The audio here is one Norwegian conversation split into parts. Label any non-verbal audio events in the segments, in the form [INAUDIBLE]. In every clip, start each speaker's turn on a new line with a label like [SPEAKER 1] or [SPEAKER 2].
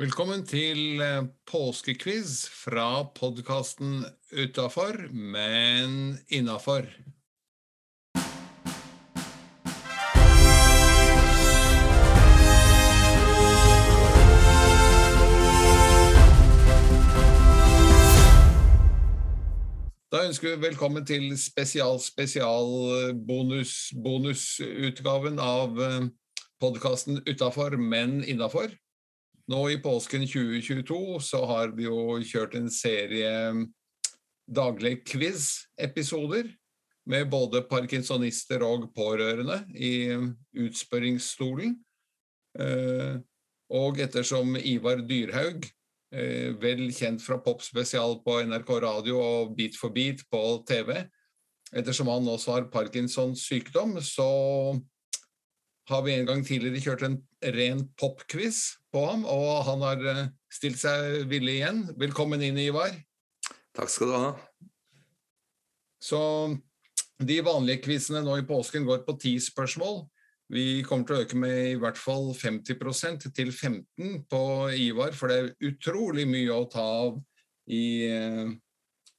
[SPEAKER 1] Velkommen til eh, påskekviz fra podkasten Utafor, men innafor. Da ønsker vi velkommen til spesial-spesial-bonus-bonusutgaven av podkasten Utafor, men innafor. Nå i påsken 2022 så har vi jo kjørt en serie mm, daglige quiz-episoder med både parkinsonister og pårørende i mm, utspørringsstolen. Eh, Og ettersom Ivar Dyrhaug, eh, vel kjent fra Popspesial på NRK radio og Beat for beat på TV, ettersom han også har Parkinsons sykdom, så har vi en gang tidligere kjørt en ren popquiz på ham, og han har eh, stilt seg villig igjen. Velkommen inn, Ivar.
[SPEAKER 2] Takk skal du ha.
[SPEAKER 1] Så de vanlige quizene nå i påsken går på ti spørsmål. Vi kommer til å øke med i hvert fall 50 til 15 på Ivar, for det er utrolig mye å ta av i eh,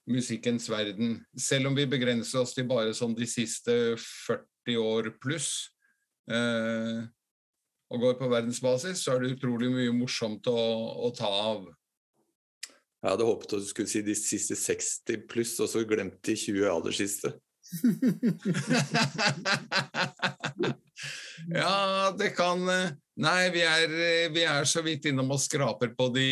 [SPEAKER 1] musikkens verden. Selv om vi begrenser oss til bare sånn de siste 40 år pluss. eh, og går på verdensbasis, så er det utrolig mye morsomt å, å ta av. [LAUGHS]
[SPEAKER 2] Jeg hadde håpet at du skulle si de siste 60 pluss, og så glemt de 20 aller siste.
[SPEAKER 1] ja, det kan eh, Nei, vi er, eh, vi er så vidt innom og skraper på de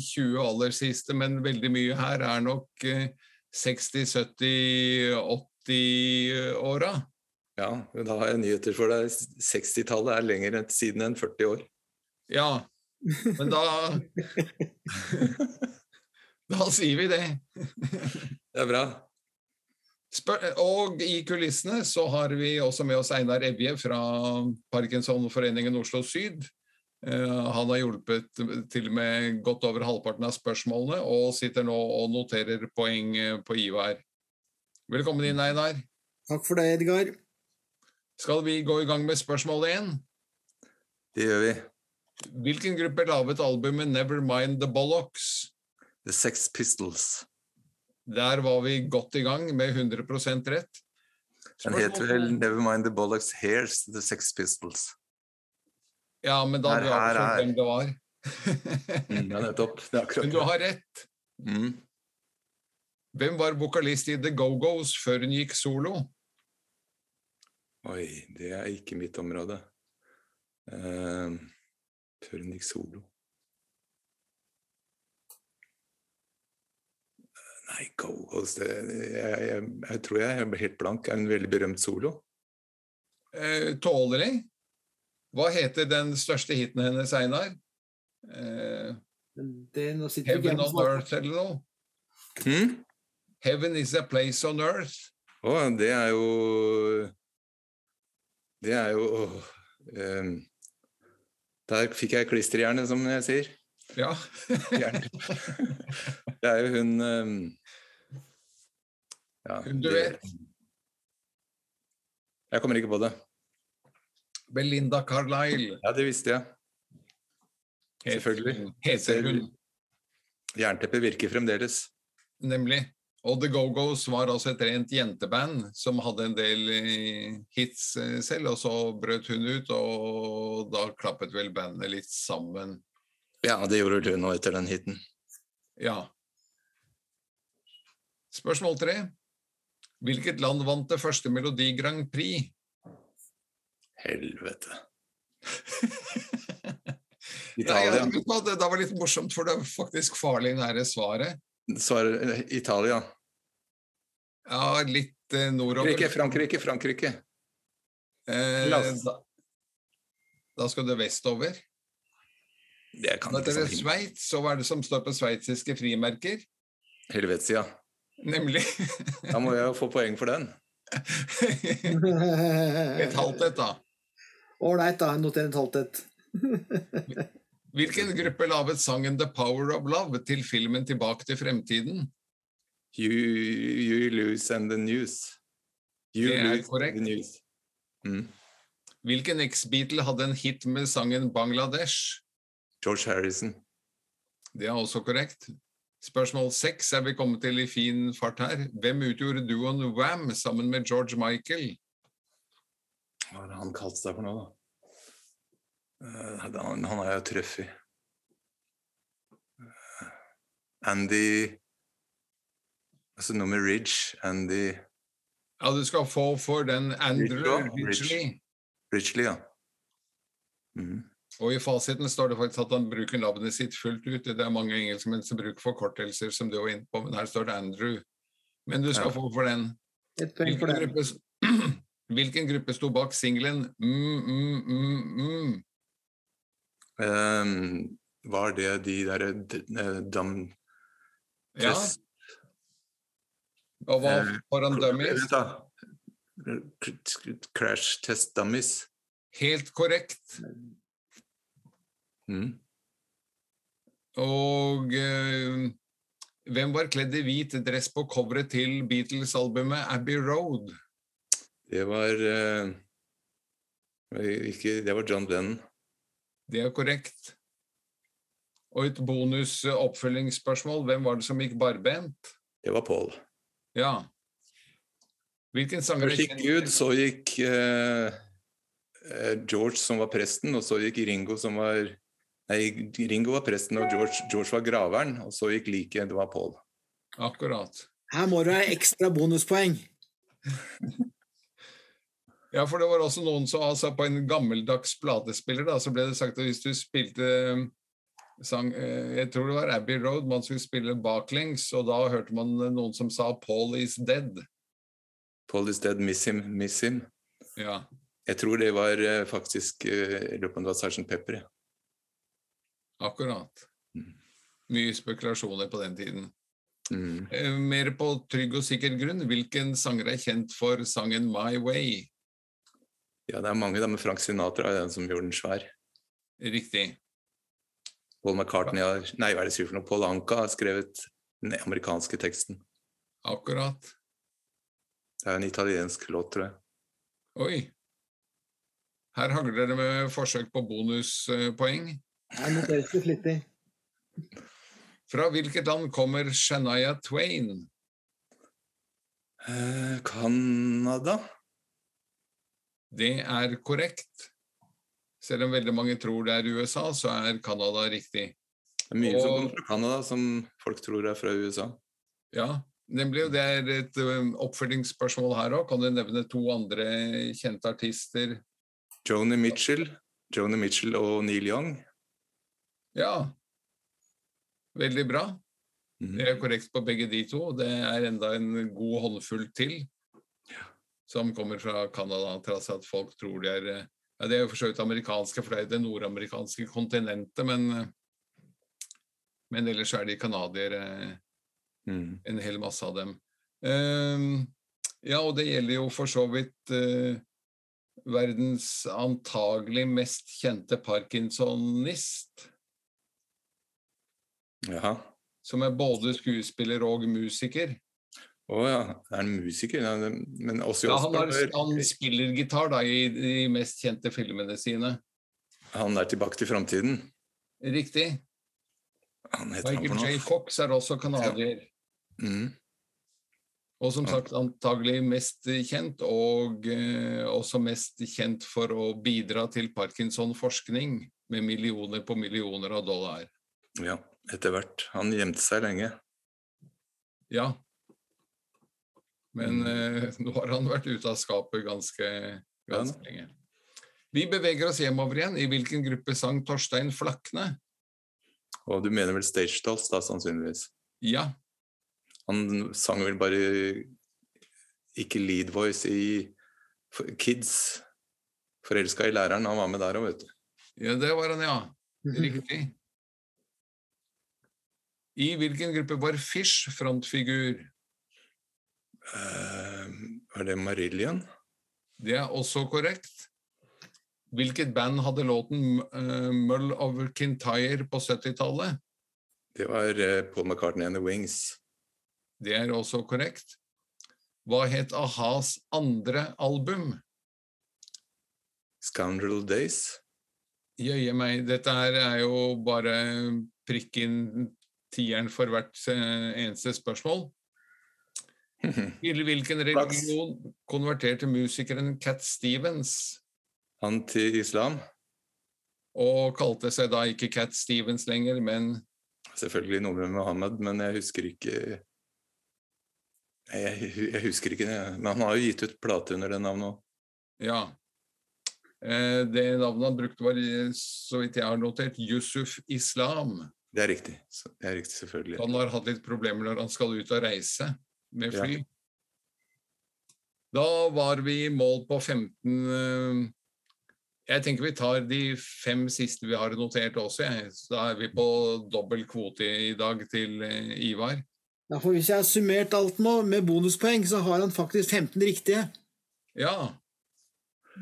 [SPEAKER 1] 20 aller siste, men veldig mye her er nok eh, 60-, 70-, 80-åra.
[SPEAKER 2] Ja, men da har jeg nyheter for deg. 60-tallet er lenger enn- siden enn 40 år.
[SPEAKER 1] Ja. Men da [LAUGHS] Da sier vi det.
[SPEAKER 2] Det er bra.
[SPEAKER 1] Spør og i kulissene så har vi også med oss Einar Evje fra Parkinsonforeningen Oslo Syd. Eh, han har hjulpet til med godt over halvparten av spørsmålene, og sitter nå og noterer poeng eh, på Ivar. Velkommen inn, Einar.
[SPEAKER 3] Takk for det, Edgar.
[SPEAKER 1] Skal vi gå i gang med spørsmål én?
[SPEAKER 2] Det gjør vi.
[SPEAKER 1] Hvilken gruppe laget albumet 'Nevermind The Bollocks'?
[SPEAKER 2] The Sex Pistols.
[SPEAKER 1] Der var vi godt i gang med 100 rett.
[SPEAKER 2] Den heter vel Nevermind the Bollocks Hairs, The Sex Pistols.
[SPEAKER 1] Ja, men da hadde vi
[SPEAKER 2] Her, her,
[SPEAKER 1] avslørt
[SPEAKER 2] her.
[SPEAKER 1] hvem det var.
[SPEAKER 2] Mm, ja, nettopp. Det er
[SPEAKER 1] [LAUGHS] Men
[SPEAKER 2] akkurat
[SPEAKER 1] du
[SPEAKER 2] det.
[SPEAKER 1] har rett.
[SPEAKER 2] Mm.
[SPEAKER 1] Hvem var vokalist i The Go-Go's før hun gikk solo?
[SPEAKER 2] Oi, det er ikke mitt område. Uh, før hun gikk solo. Nei, go Go's, det, jeg, jeg, jeg tror jeg er helt blank. Er hun veldig berømt solo?
[SPEAKER 1] Eh, tåler jeg? Hva heter den største hiten hennes, Einar? Eh,
[SPEAKER 3] Men Det, nå sitter ikke jeg
[SPEAKER 1] Heaven
[SPEAKER 3] med
[SPEAKER 1] on
[SPEAKER 3] smak-
[SPEAKER 1] Earth eller noe?
[SPEAKER 2] Å, mm?
[SPEAKER 1] Heaven is a place on earth.
[SPEAKER 2] Å, det er jo Det er jo åh, ehm, Der fikk jeg klisterhjerne, som jeg sier.
[SPEAKER 1] Ja.
[SPEAKER 2] Hjerne. [LAUGHS] det er jo hun ehm, ja,
[SPEAKER 1] Hun du
[SPEAKER 2] det- Jeg kommer ikke på det.
[SPEAKER 1] Belinda Carlisle.
[SPEAKER 2] Ja, det visste jeg. Selvfølgelig.
[SPEAKER 1] Heter hun,
[SPEAKER 2] Jernteppet virker fremdeles.
[SPEAKER 1] nemlig. Og The Go-Go's var altså et rent jenteband som hadde en del eh, hits eh, selv, og så brøt hun ut, og da klappet vel bandet litt sammen.
[SPEAKER 2] Ja, det gjorde du nå etter den hiten.
[SPEAKER 1] Ja. Spørsmål tre. Hvilket land vant det første Melodi Grand Prix?
[SPEAKER 2] [LAUGHS] Helvete.
[SPEAKER 1] Nei, jeg
[SPEAKER 2] Italia.
[SPEAKER 1] tenkte på at det, det var litt morsomt, for det er faktisk farlig nære svaret.
[SPEAKER 2] Svar eh, Italia.
[SPEAKER 1] Ja, litt eh, nordover.
[SPEAKER 2] Frankrike, Frankrike, Frankrike.
[SPEAKER 1] Eh,
[SPEAKER 2] Lass.
[SPEAKER 1] da, da skal du vestover.
[SPEAKER 2] Det kan
[SPEAKER 1] Da
[SPEAKER 2] ikke
[SPEAKER 1] er det
[SPEAKER 2] sammenligne.
[SPEAKER 1] Sveits, og hva er det som står på sveitsiske frimerker?
[SPEAKER 2] Helvetesida.
[SPEAKER 1] Nemlig [LAUGHS]
[SPEAKER 2] Da må jeg jo få poeng for den.
[SPEAKER 1] et halvt [LAUGHS] et, da.
[SPEAKER 3] Ålreit, da. Jeg noterer et halvt et.
[SPEAKER 1] Hvilken gruppe laget sangen 'The Power of Love' til filmen 'Tilbake til fremtiden'?
[SPEAKER 2] You, you lose and the news. You
[SPEAKER 1] Det er
[SPEAKER 2] lose
[SPEAKER 1] korrekt.
[SPEAKER 2] and the news. Mm.
[SPEAKER 1] Hvilken eks-Beatle hadde en hit med sangen 'Bangladesh'?
[SPEAKER 2] George Harrison.
[SPEAKER 1] Det er også korrekt. Spørsmål seks er vi kommet til i fin fart her. Hvem utgjorde duoen Wam sammen med George Michael?
[SPEAKER 2] Hva har han kalt seg for noe, da? Eh, han, han har jeg truffet. Eh, Andy Altså noe med Ridge. Andy
[SPEAKER 1] Ja, du skal få for den Andrew
[SPEAKER 2] Ridge.
[SPEAKER 1] Ridgely.
[SPEAKER 2] Ridgely, ja. Mhm.
[SPEAKER 1] Og i fasiten står det faktisk at han bruker navnet sitt fullt ut. Det er mange engelskmenn som bruker forkortelser, som du var inne på, men her står det Andrew. Men du skal
[SPEAKER 2] Ja.
[SPEAKER 1] få for den.
[SPEAKER 3] Ett poeng for
[SPEAKER 1] Hvilken
[SPEAKER 3] den.
[SPEAKER 1] gruppe, [CLEARS THROAT] hvilken gruppe sto bak singelen mm, mm, mm, mm?
[SPEAKER 2] Ehm, var det de derre d- eh, Dam...
[SPEAKER 1] Ja,
[SPEAKER 2] Tess-
[SPEAKER 1] og hva
[SPEAKER 2] eh,
[SPEAKER 1] foran dummies?
[SPEAKER 2] Vent, da. K- k- Crash Test Dummies.
[SPEAKER 1] Helt korrekt.
[SPEAKER 2] Mhm.
[SPEAKER 1] Og eh, hvem var kledd i hvit dress på coveret til Beatles-albumet Abbey Road?
[SPEAKER 2] Det var eh, ikke, Det var John Lennon.
[SPEAKER 1] Det er korrekt. Og et bonus eh, oppfølgingsspørsmål. Hvem var det som gikk barbent?
[SPEAKER 2] Det var Paul.
[SPEAKER 1] Ja. Hvilken sanger er
[SPEAKER 2] Først gikk
[SPEAKER 1] kjent-
[SPEAKER 2] Gud, så gikk eh, eh, George, som var presten, og så gikk Ringo, som var Nei, Ringo var presten, og George, George var graveren, og så gikk liket. Det var Paul.
[SPEAKER 1] Akkurat.
[SPEAKER 3] Her må du ha ekstra bonuspoeng.
[SPEAKER 1] Ja, for det var også noen som altså på en gammeldags platespiller, da, så ble det sagt at hvis du spilte eh, sang eh, Jeg tror det var Abbey Road man skulle spille baklengs, og da hørte man eh, noen som sa 'Paul is dead'.
[SPEAKER 2] Paul is dead, miss him, miss him.
[SPEAKER 1] Ja.
[SPEAKER 2] Jeg tror det var eh, faktisk eh, Jeg lurer på om det var Sergeant Pepper. ja.
[SPEAKER 1] Akkurat.
[SPEAKER 2] Mm.
[SPEAKER 1] Mye spekulasjoner på den tiden.
[SPEAKER 2] Mm.
[SPEAKER 1] Eh, Mer på trygg og sikker grunn, hvilken sanger er kjent for sangen My Way?
[SPEAKER 2] Ja, det er mange, da, men Frank Sinatra er den som gjorde den svær.
[SPEAKER 1] Riktig.
[SPEAKER 2] Paul McCartney har Nei, hva er det jeg sier for noe? Paul Anka har skrevet den amerikanske teksten.
[SPEAKER 1] Akkurat.
[SPEAKER 2] Det er en italiensk låt, tror jeg.
[SPEAKER 1] Oi. Her hagler det med forsøk på bonuspoeng.
[SPEAKER 3] Her noteres det flittig.
[SPEAKER 1] Fra hvilket land kommer Shania Twain?
[SPEAKER 2] Eh, Canada?
[SPEAKER 1] Det er korrekt. Selv om veldig mange tror det er USA, så er Canada riktig.
[SPEAKER 2] Det er mye som
[SPEAKER 1] Og-
[SPEAKER 2] kommer fra Canada, som folk tror er fra USA.
[SPEAKER 1] Ja, nemlig. Og det er et ø, oppfølgingsspørsmål her òg. Kan du nevne to andre kjente artister?
[SPEAKER 2] Joni Mitchell, Joni Mitchell og Neil Young.
[SPEAKER 1] Ja. Veldig bra.
[SPEAKER 2] Mhm.
[SPEAKER 1] Det er korrekt på begge de to. Det er enda en god håndfull til som kommer fra Canada, trass i at folk tror de er eh, ja, Det er jo for så vidt amerikanske, for det er jo det nordamerikanske kontinentet, men eh, men ellers er de canadiere,
[SPEAKER 2] Mhm.
[SPEAKER 1] en hel masse av dem. Ehm, Ja, og det gjelder jo for så vidt eh, verdens antagelig mest kjente parkinsonist.
[SPEAKER 2] Jaha.
[SPEAKER 1] som er både skuespiller og musiker.
[SPEAKER 2] Å ja, det er en musiker. Nei, det- men Ozzy
[SPEAKER 1] Ja, han, har,
[SPEAKER 2] Osbourne
[SPEAKER 1] han spiller gitar da, i de mest kjente filmene sine.
[SPEAKER 2] Han er tilbake til framtiden.
[SPEAKER 1] Riktig.
[SPEAKER 2] Han heter han for
[SPEAKER 1] Michael J.
[SPEAKER 2] noe.
[SPEAKER 1] Fox er også canadier.
[SPEAKER 2] Mhm.
[SPEAKER 1] Og som sagt antagelig mest kjent, og eh, også mest kjent for å bidra til Parkinson-forskning med millioner på millioner av dollar.
[SPEAKER 2] Ja, etter hvert. Han gjemte seg lenge.
[SPEAKER 1] Ja. Men
[SPEAKER 2] Mm.
[SPEAKER 1] eh, [LAUGHS] nå har han vært ute av skapet ganske, ganske lenge. Vi beveger oss hjemover igjen. I hvilken gruppe sang Torstein Flakne?
[SPEAKER 2] Og du mener vel Stage Dolls, da, sannsynligvis?
[SPEAKER 1] Ja,
[SPEAKER 2] Han sang vel bare ikke lead voice i F- Kids. Forelska i læreren. Han var med der òg, vet du.
[SPEAKER 1] ja det var han, ja. Riktig. I hvilken gruppe var Fish frontfigur?
[SPEAKER 2] Eh, var det Marillion?
[SPEAKER 1] Det er også korrekt. Hvilket band hadde låten eh, Mull over Kintyre på 70-tallet?
[SPEAKER 2] Det var eh, Paul McCartney and The Wings.
[SPEAKER 1] Det er også korrekt. Hva het a-has andre album?
[SPEAKER 2] Scoundrel Days. [LAUGHS]
[SPEAKER 1] Jøye meg, dette her er jo bare prikk inn tieren for hvert eh, eneste spørsmål. Til hvilken
[SPEAKER 2] Flaks.
[SPEAKER 1] religion konverterte musikeren Cat Stevens
[SPEAKER 2] Han til islam?
[SPEAKER 1] og kalte seg da ikke Cat Stevens lenger, men
[SPEAKER 2] Selvfølgelig noe med Mohammed, men jeg husker ikke Nei, jeg, jeg husker ikke det. Men han har jo gitt ut plate under det navnet òg.
[SPEAKER 1] ja. Eh, Det navnet han brukte, var, eh, så vidt jeg har notert, Yusuf Islam.
[SPEAKER 2] Det er riktig. Så- Det er riktig, selvfølgelig.
[SPEAKER 1] Han har hatt litt problemer når han skal ut og reise med
[SPEAKER 2] Ja.
[SPEAKER 1] fly. Da var vi i mål på 15 eh, Jeg tenker vi tar de fem siste vi har notert også, jeg. Så da er vi på dobbel kvote i dag til eh, Ivar.
[SPEAKER 3] Ja, for hvis jeg har summert alt nå med bonuspoeng, så har han faktisk 15 riktige.
[SPEAKER 1] Ja.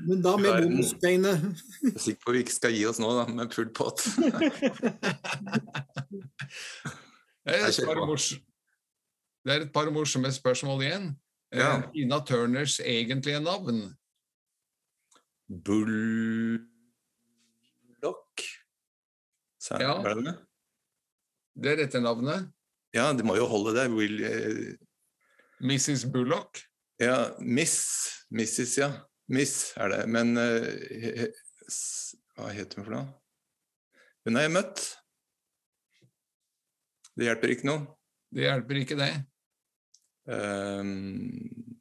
[SPEAKER 3] Men da med
[SPEAKER 2] Verden.
[SPEAKER 3] bonuspoengene. [LAUGHS]
[SPEAKER 2] Jeg er sikker på vi ikke skal gi oss nå, da, med full pott.
[SPEAKER 1] Det er,
[SPEAKER 2] Jeg
[SPEAKER 1] et
[SPEAKER 2] kjører
[SPEAKER 1] par
[SPEAKER 2] på.
[SPEAKER 1] mors- det er et par morsomme spørsmål igjen. Eh,
[SPEAKER 2] Ja.
[SPEAKER 1] Tina Turners egentlige navn?
[SPEAKER 2] Bullock Sa
[SPEAKER 1] Ja.
[SPEAKER 2] var det det?
[SPEAKER 1] Det rette navnet?
[SPEAKER 2] Ja, det må jo holde det. Will, eh,
[SPEAKER 1] Mrs. Bullock?
[SPEAKER 2] ja, Miss. Mrs., ja. Miss er det. Men eh, he, he, s, hva heter hun for noe? Hun har jeg møtt. Det hjelper ikke noe.
[SPEAKER 1] Det hjelper ikke, det.
[SPEAKER 2] Ehm,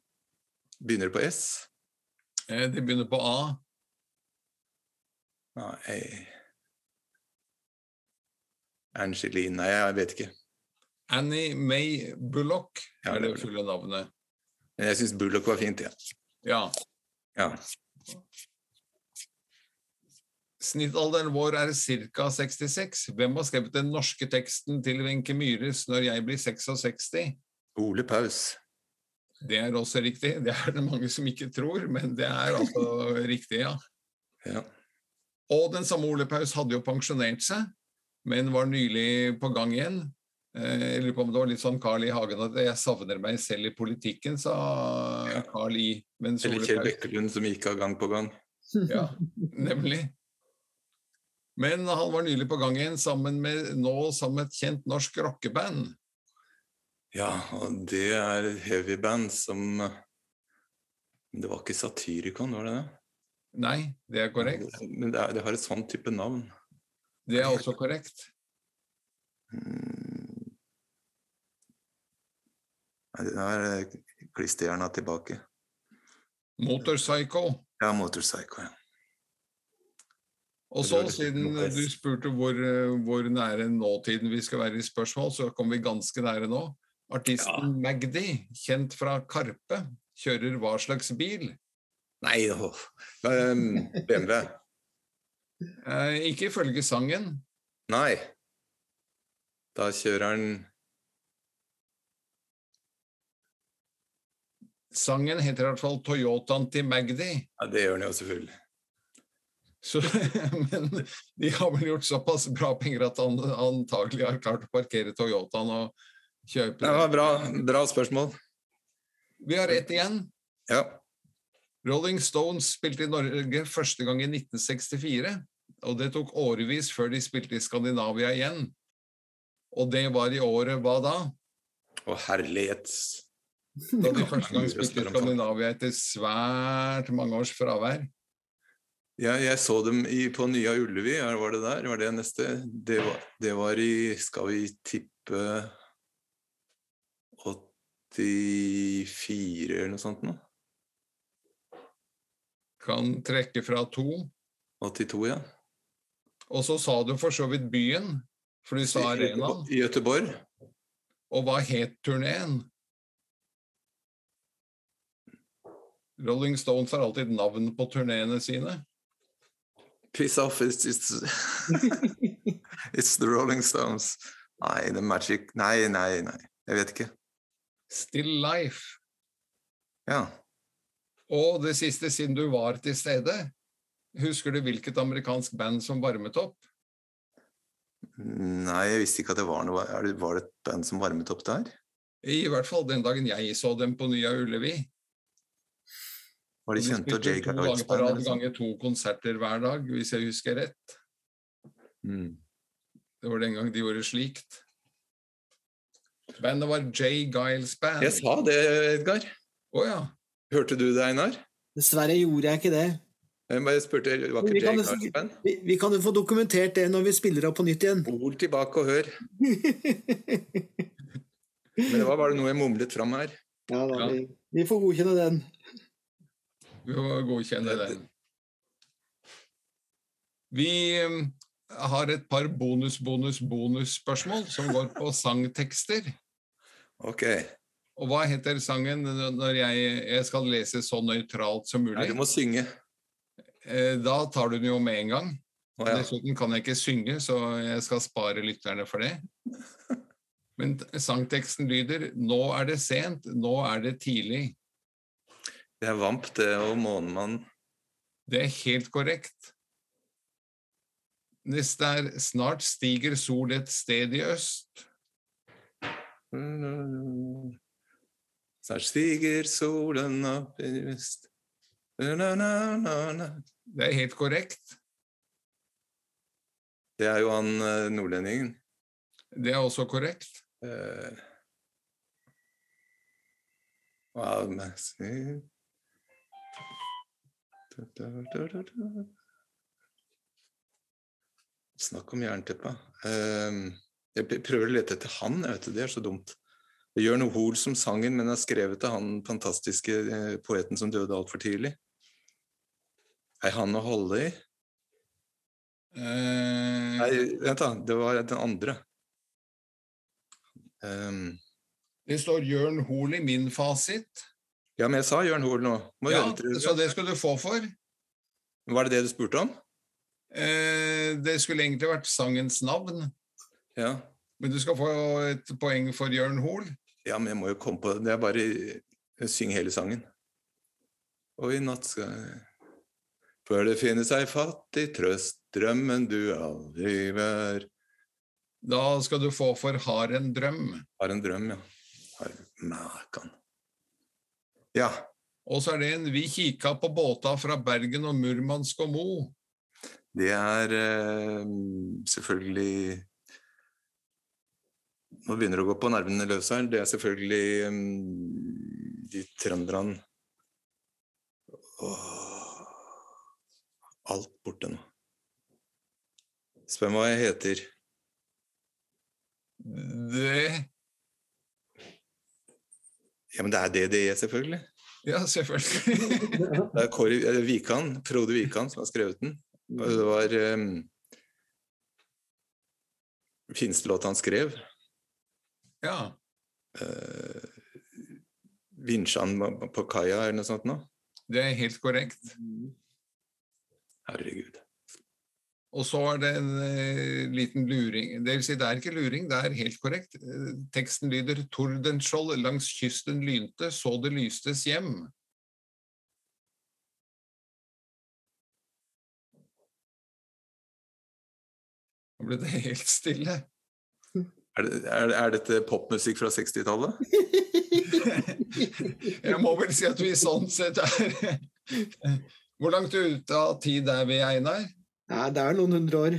[SPEAKER 2] begynner det på S?
[SPEAKER 1] Eh, Det begynner på A.
[SPEAKER 2] Nei Angeline Nei, jeg vet ikke.
[SPEAKER 1] Annie May Bullock
[SPEAKER 2] Ja,
[SPEAKER 1] er
[SPEAKER 2] det
[SPEAKER 1] det
[SPEAKER 2] er det.
[SPEAKER 1] fulle navnet.
[SPEAKER 2] Men jeg syns Bullock var fint, ja.
[SPEAKER 1] Ja.
[SPEAKER 2] ja.
[SPEAKER 1] Snittalderen vår er ca. 66. Hvem har skrevet den norske teksten til Wenche Myhres 'Når jeg blir 66'?
[SPEAKER 2] Ole Paus.
[SPEAKER 1] Det er også riktig. Det er det mange som ikke tror, men det er
[SPEAKER 2] [LAUGHS]
[SPEAKER 1] altså riktig, ja.
[SPEAKER 2] Ja.
[SPEAKER 1] Og den samme Ole Paus hadde jo pensjonert seg, men var nylig på gang igjen. Eh, Jeg lurer på om det var litt sånn Carl I. Hagen at 'jeg savner meg selv i politikken', sa
[SPEAKER 2] Ja.
[SPEAKER 1] Carl I. mens
[SPEAKER 2] Eller
[SPEAKER 1] Ole
[SPEAKER 2] Kjell
[SPEAKER 1] Paus-
[SPEAKER 2] Bekkelund som gikk av gang på gang.
[SPEAKER 1] Ja, nemlig. Men han var nylig på gang igjen sammen med, nå sammen med et kjent norsk rockeband.
[SPEAKER 2] Ja, og det er et heavyband som Men Det var ikke Satyricon, var det det?
[SPEAKER 1] Nei, det er korrekt.
[SPEAKER 2] Men det, er, det har et sånn type navn.
[SPEAKER 1] Det er også korrekt.
[SPEAKER 2] Mm. Nei, det er klisterhjerna tilbake.
[SPEAKER 1] Motorpsycho.
[SPEAKER 2] Ja, Motorpsycho, ja.
[SPEAKER 1] Og så, siden du spurte hvor, eh, hvor nære nåtiden vi skal være i spørsmål, så kom vi ganske nære nå. Artisten Magdi, kjent fra Karpe, kjører hva slags bil?
[SPEAKER 2] Nei, åh. Ehm, BMW.
[SPEAKER 1] Eh, ikke ifølge sangen.
[SPEAKER 2] Nei. Da kjører han
[SPEAKER 1] Sangen heter i hvert fall Toyotaen til Magdi.
[SPEAKER 2] Ja, det gjør han jo selvfølgelig.
[SPEAKER 1] Så, [LAUGHS] men de har vel gjort såpass bra penger at han antagelig har klart å parkere Toyotaen og kjøpe
[SPEAKER 2] Det var bra, bra spørsmål.
[SPEAKER 1] Vi har ett igjen.
[SPEAKER 2] Ja.
[SPEAKER 1] Rolling Stones spilte i Norge første gang i 1964. Og det tok årevis før de spilte i Skandinavia igjen. Og det var i året hva da?
[SPEAKER 2] Og herlighet.
[SPEAKER 1] Da de første gang
[SPEAKER 2] Mulig å
[SPEAKER 1] spilte i
[SPEAKER 2] spørre om.
[SPEAKER 1] Skandinavia etter svært mange års fravær.
[SPEAKER 2] Ja, jeg så dem i, på Nya Ullevi, ja, var det der? Var det neste? Det var, det var i Skal vi tippe 84 eller noe sånt nå?
[SPEAKER 1] Kan trekke fra to.
[SPEAKER 2] 82, ja.
[SPEAKER 1] Og så sa du for så vidt byen, for du sa
[SPEAKER 2] I
[SPEAKER 1] arenaen.
[SPEAKER 2] Göteborg- I Göteborg.
[SPEAKER 1] Og hva het turneen? Rolling Stones har alltid navn på turneene sine.
[SPEAKER 2] Piss off,
[SPEAKER 1] [LAUGHS]
[SPEAKER 2] it's, it's, it's the Rolling Stones. Nei, The Magic Nei, nei, nei. Jeg vet ikke.
[SPEAKER 1] Still Life.
[SPEAKER 2] Ja.
[SPEAKER 1] Og det siste, siden du var til stede, husker du hvilket amerikansk band som varmet opp?
[SPEAKER 2] Nei, jeg visste ikke at det var noe er det- Var det et band som varmet opp der?
[SPEAKER 1] I hvert fall den dagen jeg så dem på Nya Ullevi.
[SPEAKER 2] Var de kjente og Jay
[SPEAKER 1] to dager på
[SPEAKER 2] Garlic-band? eller sånn?
[SPEAKER 1] rad
[SPEAKER 2] noe sånt?
[SPEAKER 1] ganger to konserter hver dag, hvis jeg husker rett.
[SPEAKER 2] Mm.
[SPEAKER 1] Det var den gang de gjorde slikt. Bandet var J. Giles Band.
[SPEAKER 2] Jeg sa det, Edgar.
[SPEAKER 1] Å ja.
[SPEAKER 2] Hørte du det, Einar?
[SPEAKER 3] Dessverre gjorde jeg ikke det.
[SPEAKER 2] Jeg bare spurte, var
[SPEAKER 3] Vi
[SPEAKER 2] ikke
[SPEAKER 3] kan
[SPEAKER 2] Jay
[SPEAKER 3] nesten-
[SPEAKER 2] Carlsen?
[SPEAKER 3] Vi, vi kan jo få dokumentert det når vi spiller opp på nytt igjen. [LAUGHS]
[SPEAKER 2] Spol tilbake og hør. Men det var bare noe jeg mumlet fram her.
[SPEAKER 3] Ja, da,
[SPEAKER 1] Ja.
[SPEAKER 3] vi, vi får godkjenne den. [LAUGHS]
[SPEAKER 1] Vi må godkjenne
[SPEAKER 2] Det-
[SPEAKER 1] den. Vi um, har et par bonus-bonus-bonusspørsmål som går på sangtekster.
[SPEAKER 2] Ok. Nei,
[SPEAKER 1] Og hva heter sangen når jeg, jeg skal lese så nøytralt som mulig?
[SPEAKER 2] du må synge.
[SPEAKER 1] Eh, Da tar du den jo med en gang.
[SPEAKER 2] Å, ja.
[SPEAKER 1] Dessuten kan jeg ikke synge, så jeg skal spare lytterne for det. [LAUGHS] Men t- sangteksten lyder 'Nå er det sent, nå er det tidlig'.
[SPEAKER 2] Det er Vamp, det, og Månemann.
[SPEAKER 1] Det er helt korrekt. Neste er 'Snart stiger sol et sted i øst'.
[SPEAKER 2] Snart stiger solen opp i vest. Na-na-na-na.
[SPEAKER 1] Det er helt korrekt.
[SPEAKER 2] Det er jo han eh, nordlendingen.
[SPEAKER 1] Det er også korrekt.
[SPEAKER 2] Eh, wow, men- Snakk om jernteppe. Eh, jeg prøver å lete etter han, jeg vet du, det er så dumt. Det gjør noe hol som sangen, men er skrevet av han fantastiske eh, poeten som døde altfor tidlig. Ei han å holde i?
[SPEAKER 1] Eh,
[SPEAKER 2] Nei, vent, da. Det var den andre. Um,
[SPEAKER 1] det står Jørn Hoel i min fasit.
[SPEAKER 2] Ja, men jeg sa Jørn Hoel nå. Må
[SPEAKER 1] Ja,
[SPEAKER 2] høre til det.
[SPEAKER 1] så det skulle du få for.
[SPEAKER 2] Var det det du spurte om?
[SPEAKER 1] Eh, det skulle egentlig vært sangens navn,
[SPEAKER 2] Ja.
[SPEAKER 1] men du skal få et poeng for Jørn Hoel.
[SPEAKER 2] ja, men jeg må jo komme på det. Det er bare Syng hele sangen. Og i natt skal jeg Før det finnes ei fattig trøst, drømmen du aldri vær
[SPEAKER 1] Da skal du få for 'Har en drøm'.
[SPEAKER 2] Har en drøm, ja. Har Mækan. Ja.
[SPEAKER 1] Og så er det en 'Vi kika på båta fra Bergen og Murmansk og Mo'.
[SPEAKER 2] Det er eh, selvfølgelig Nå begynner det å gå på nervene løs her. Det er selvfølgelig mm, de trønderne Åh, Alt borte nå. Spør meg hva jeg heter.
[SPEAKER 1] Det
[SPEAKER 2] Ja, men det er DDE, selvfølgelig.
[SPEAKER 1] Ja, selvfølgelig. [LAUGHS]
[SPEAKER 2] Det er Kåre eh, Wikan, Frode Wikan, som har skrevet den. Og det var um, finstelåta han skrev.
[SPEAKER 1] ja.
[SPEAKER 2] eh, Vinsjan ba- på kaia eller noe sånt nå.
[SPEAKER 1] Det er helt korrekt.
[SPEAKER 2] Herregud.
[SPEAKER 1] Og så er det en eh, liten luring Det vil si, det er ikke luring, det er helt korrekt. Eh, teksten lyder 'Tordenskjold langs kysten lynte, så det lystes hjem'. Nå ble det helt stille. [LAUGHS]
[SPEAKER 2] Er, det, er, er dette popmusikk fra 60-tallet?
[SPEAKER 1] Jeg må vel si at vi sånn sett er [LAUGHS] Hvor langt ute av tid er vi, Einar?
[SPEAKER 3] Nei, det er noen hundre år.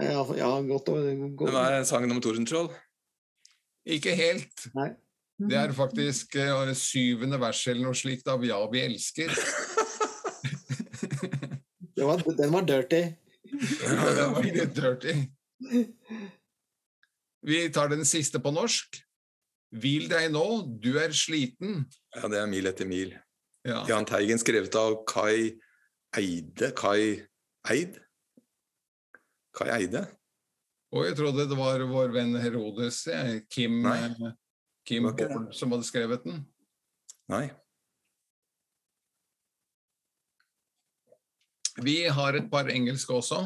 [SPEAKER 3] ja, ja, godt å
[SPEAKER 2] Det
[SPEAKER 3] godt.
[SPEAKER 2] var sangen om Tordenskjold.
[SPEAKER 1] Ikke helt.
[SPEAKER 3] Nei.
[SPEAKER 1] Det er faktisk eh, syvende vers eller noe slikt av 'Ja, vi elsker'.
[SPEAKER 3] Det var, den var dirty.
[SPEAKER 1] Ja, det var litt dirty. Vi tar den siste på norsk. Hvil deg nå, du er sliten.
[SPEAKER 2] Ja, det er Mil etter mil.
[SPEAKER 1] Ja,
[SPEAKER 2] Jahn Teigen, skrevet av Kai Eide Kai Eid? Kai Eide?
[SPEAKER 1] Og jeg trodde det var vår venn Herodes, eh, Kim,
[SPEAKER 2] Nei,
[SPEAKER 1] eh, Kim
[SPEAKER 2] det var ikke det.
[SPEAKER 1] Bård, som hadde skrevet den.
[SPEAKER 2] Nei.
[SPEAKER 1] Vi har et par engelske også.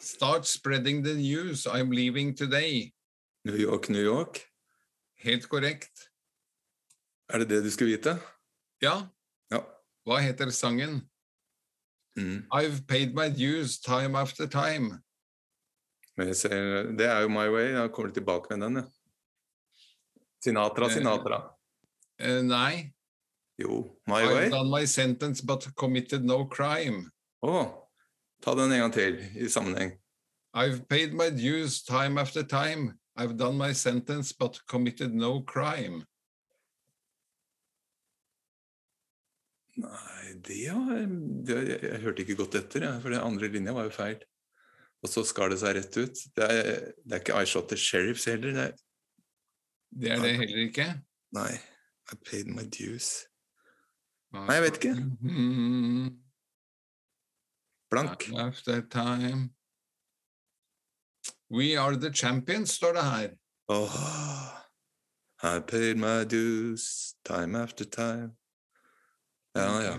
[SPEAKER 1] Start spreading the news, I'm leaving today.
[SPEAKER 2] New York, New York.
[SPEAKER 1] Helt korrekt.
[SPEAKER 2] Er det det du skulle vite?
[SPEAKER 1] Ja,
[SPEAKER 2] Ja.
[SPEAKER 1] hva heter sangen?
[SPEAKER 2] Mm.
[SPEAKER 1] I've paid my dues time after time.
[SPEAKER 2] Men jeg ser, det er jo My Way. Jeg kommer tilbake med den, jeg. Sinatra, Sinatra.
[SPEAKER 1] Eh, nei.
[SPEAKER 2] Jo. My
[SPEAKER 1] I've
[SPEAKER 2] Way? Å!
[SPEAKER 1] done my sentence but committed no crime.
[SPEAKER 2] ta den en gang til i sammenheng.
[SPEAKER 1] I've paid my dues time after time. I've done my sentence but committed no crime.
[SPEAKER 2] Nei, det har det, jeg, jeg hørte ikke godt etter, jeg, for den andre linja var jo feil. Og så skar det seg rett ut. Det er, det er ikke I shot the sheriffs heller. Det er,
[SPEAKER 1] Det er det heller ikke.
[SPEAKER 2] nei. I paid my dues. Nei, jeg vet ikke.
[SPEAKER 1] Mm,
[SPEAKER 2] Blank.
[SPEAKER 1] time after time. We are the champions, står det her.
[SPEAKER 2] Åh. I paid my dues time after time. Ja, ja.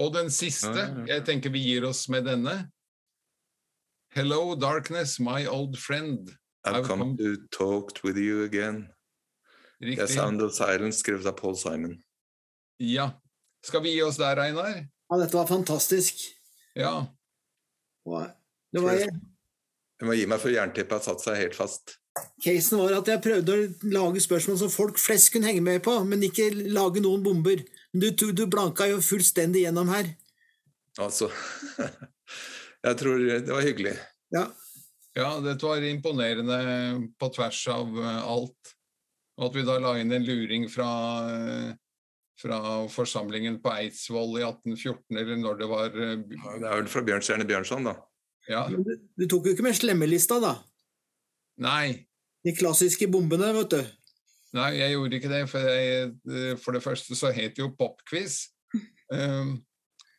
[SPEAKER 1] Og den siste,
[SPEAKER 2] Ja, ja, ja.
[SPEAKER 1] jeg tenker vi gir oss med denne. Hello, darkness, my old friend.
[SPEAKER 2] I've come to talk with you again. Det er
[SPEAKER 1] Riktig.
[SPEAKER 2] Sound of Silence, skrevet av Paul Simon.
[SPEAKER 1] Ja. Skal vi gi oss der, Einar?
[SPEAKER 3] Ja, dette var fantastisk.
[SPEAKER 1] Ja.
[SPEAKER 3] Og det var,
[SPEAKER 2] Jeg må gi meg for jernteppet har satt seg helt fast.
[SPEAKER 3] casen var at jeg prøvde å lage spørsmål som folk flest kunne henge med på, men ikke lage noen bomber. Men du, du blanka jo fullstendig gjennom her.
[SPEAKER 2] Altså [LAUGHS] Jeg tror det var hyggelig.
[SPEAKER 3] Ja.
[SPEAKER 1] ja, dette var imponerende på tvers av eh, alt. Og at vi da la inn en luring fra, eh, fra forsamlingen på Eidsvoll i 1814, eller når det var eh, by-
[SPEAKER 2] Det er vel fra Bjørnstjerne Bjørnson, da.
[SPEAKER 1] Ja.
[SPEAKER 3] Men du, du tok jo ikke med slemmelista, da.
[SPEAKER 1] Nei.
[SPEAKER 3] De klassiske bombene, vet du.
[SPEAKER 1] Nei, jeg gjorde ikke det. For, jeg, eh, for det første så het det jo Popquiz. Um,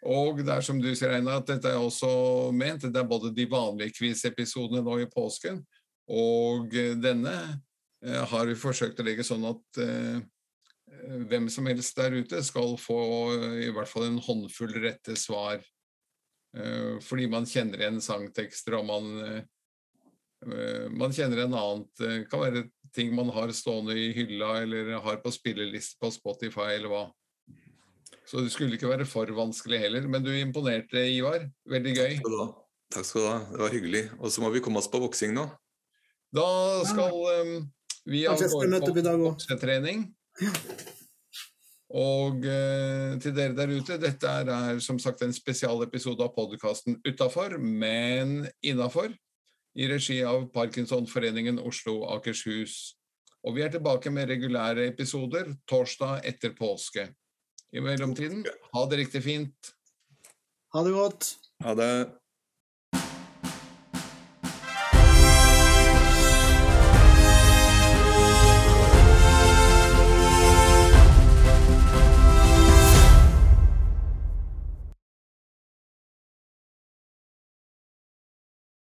[SPEAKER 1] og det er som du sier, Einar, at dette er også ment. Det er både de vanlige quiz-episodene nå i påsken og eh, denne eh, har vi forsøkt å legge sånn at eh, hvem som helst der ute skal få eh, i hvert fall en håndfull rette svar. Eh, fordi man kjenner igjen sangtekster, og man, eh, eh, man kjenner en annen Det kan være ting man har stående i hylla eller har på spilleliste på Spotify eller hva. Så det skulle ikke være for vanskelig heller. Men du imponerte, Ivar. Veldig gøy.
[SPEAKER 2] Takk skal du ha. Takk skal du ha. Det var hyggelig. Og så må vi komme oss på boksing nå.
[SPEAKER 1] Da skal eh, vi av
[SPEAKER 3] Kanskje jeg skal
[SPEAKER 1] gårde
[SPEAKER 3] møte opp
[SPEAKER 1] på
[SPEAKER 3] i dag òg.
[SPEAKER 1] boksetrening. Og eh, til dere der ute, dette er, er som sagt en spesialepisode av podkasten Utafor, men innafor. I regi av Parkinsonforeningen Oslo og Akershus. Og vi er tilbake med regulære episoder torsdag etter påske. I mellomtiden, ha det riktig fint.
[SPEAKER 3] Ha det godt.
[SPEAKER 2] Ha det.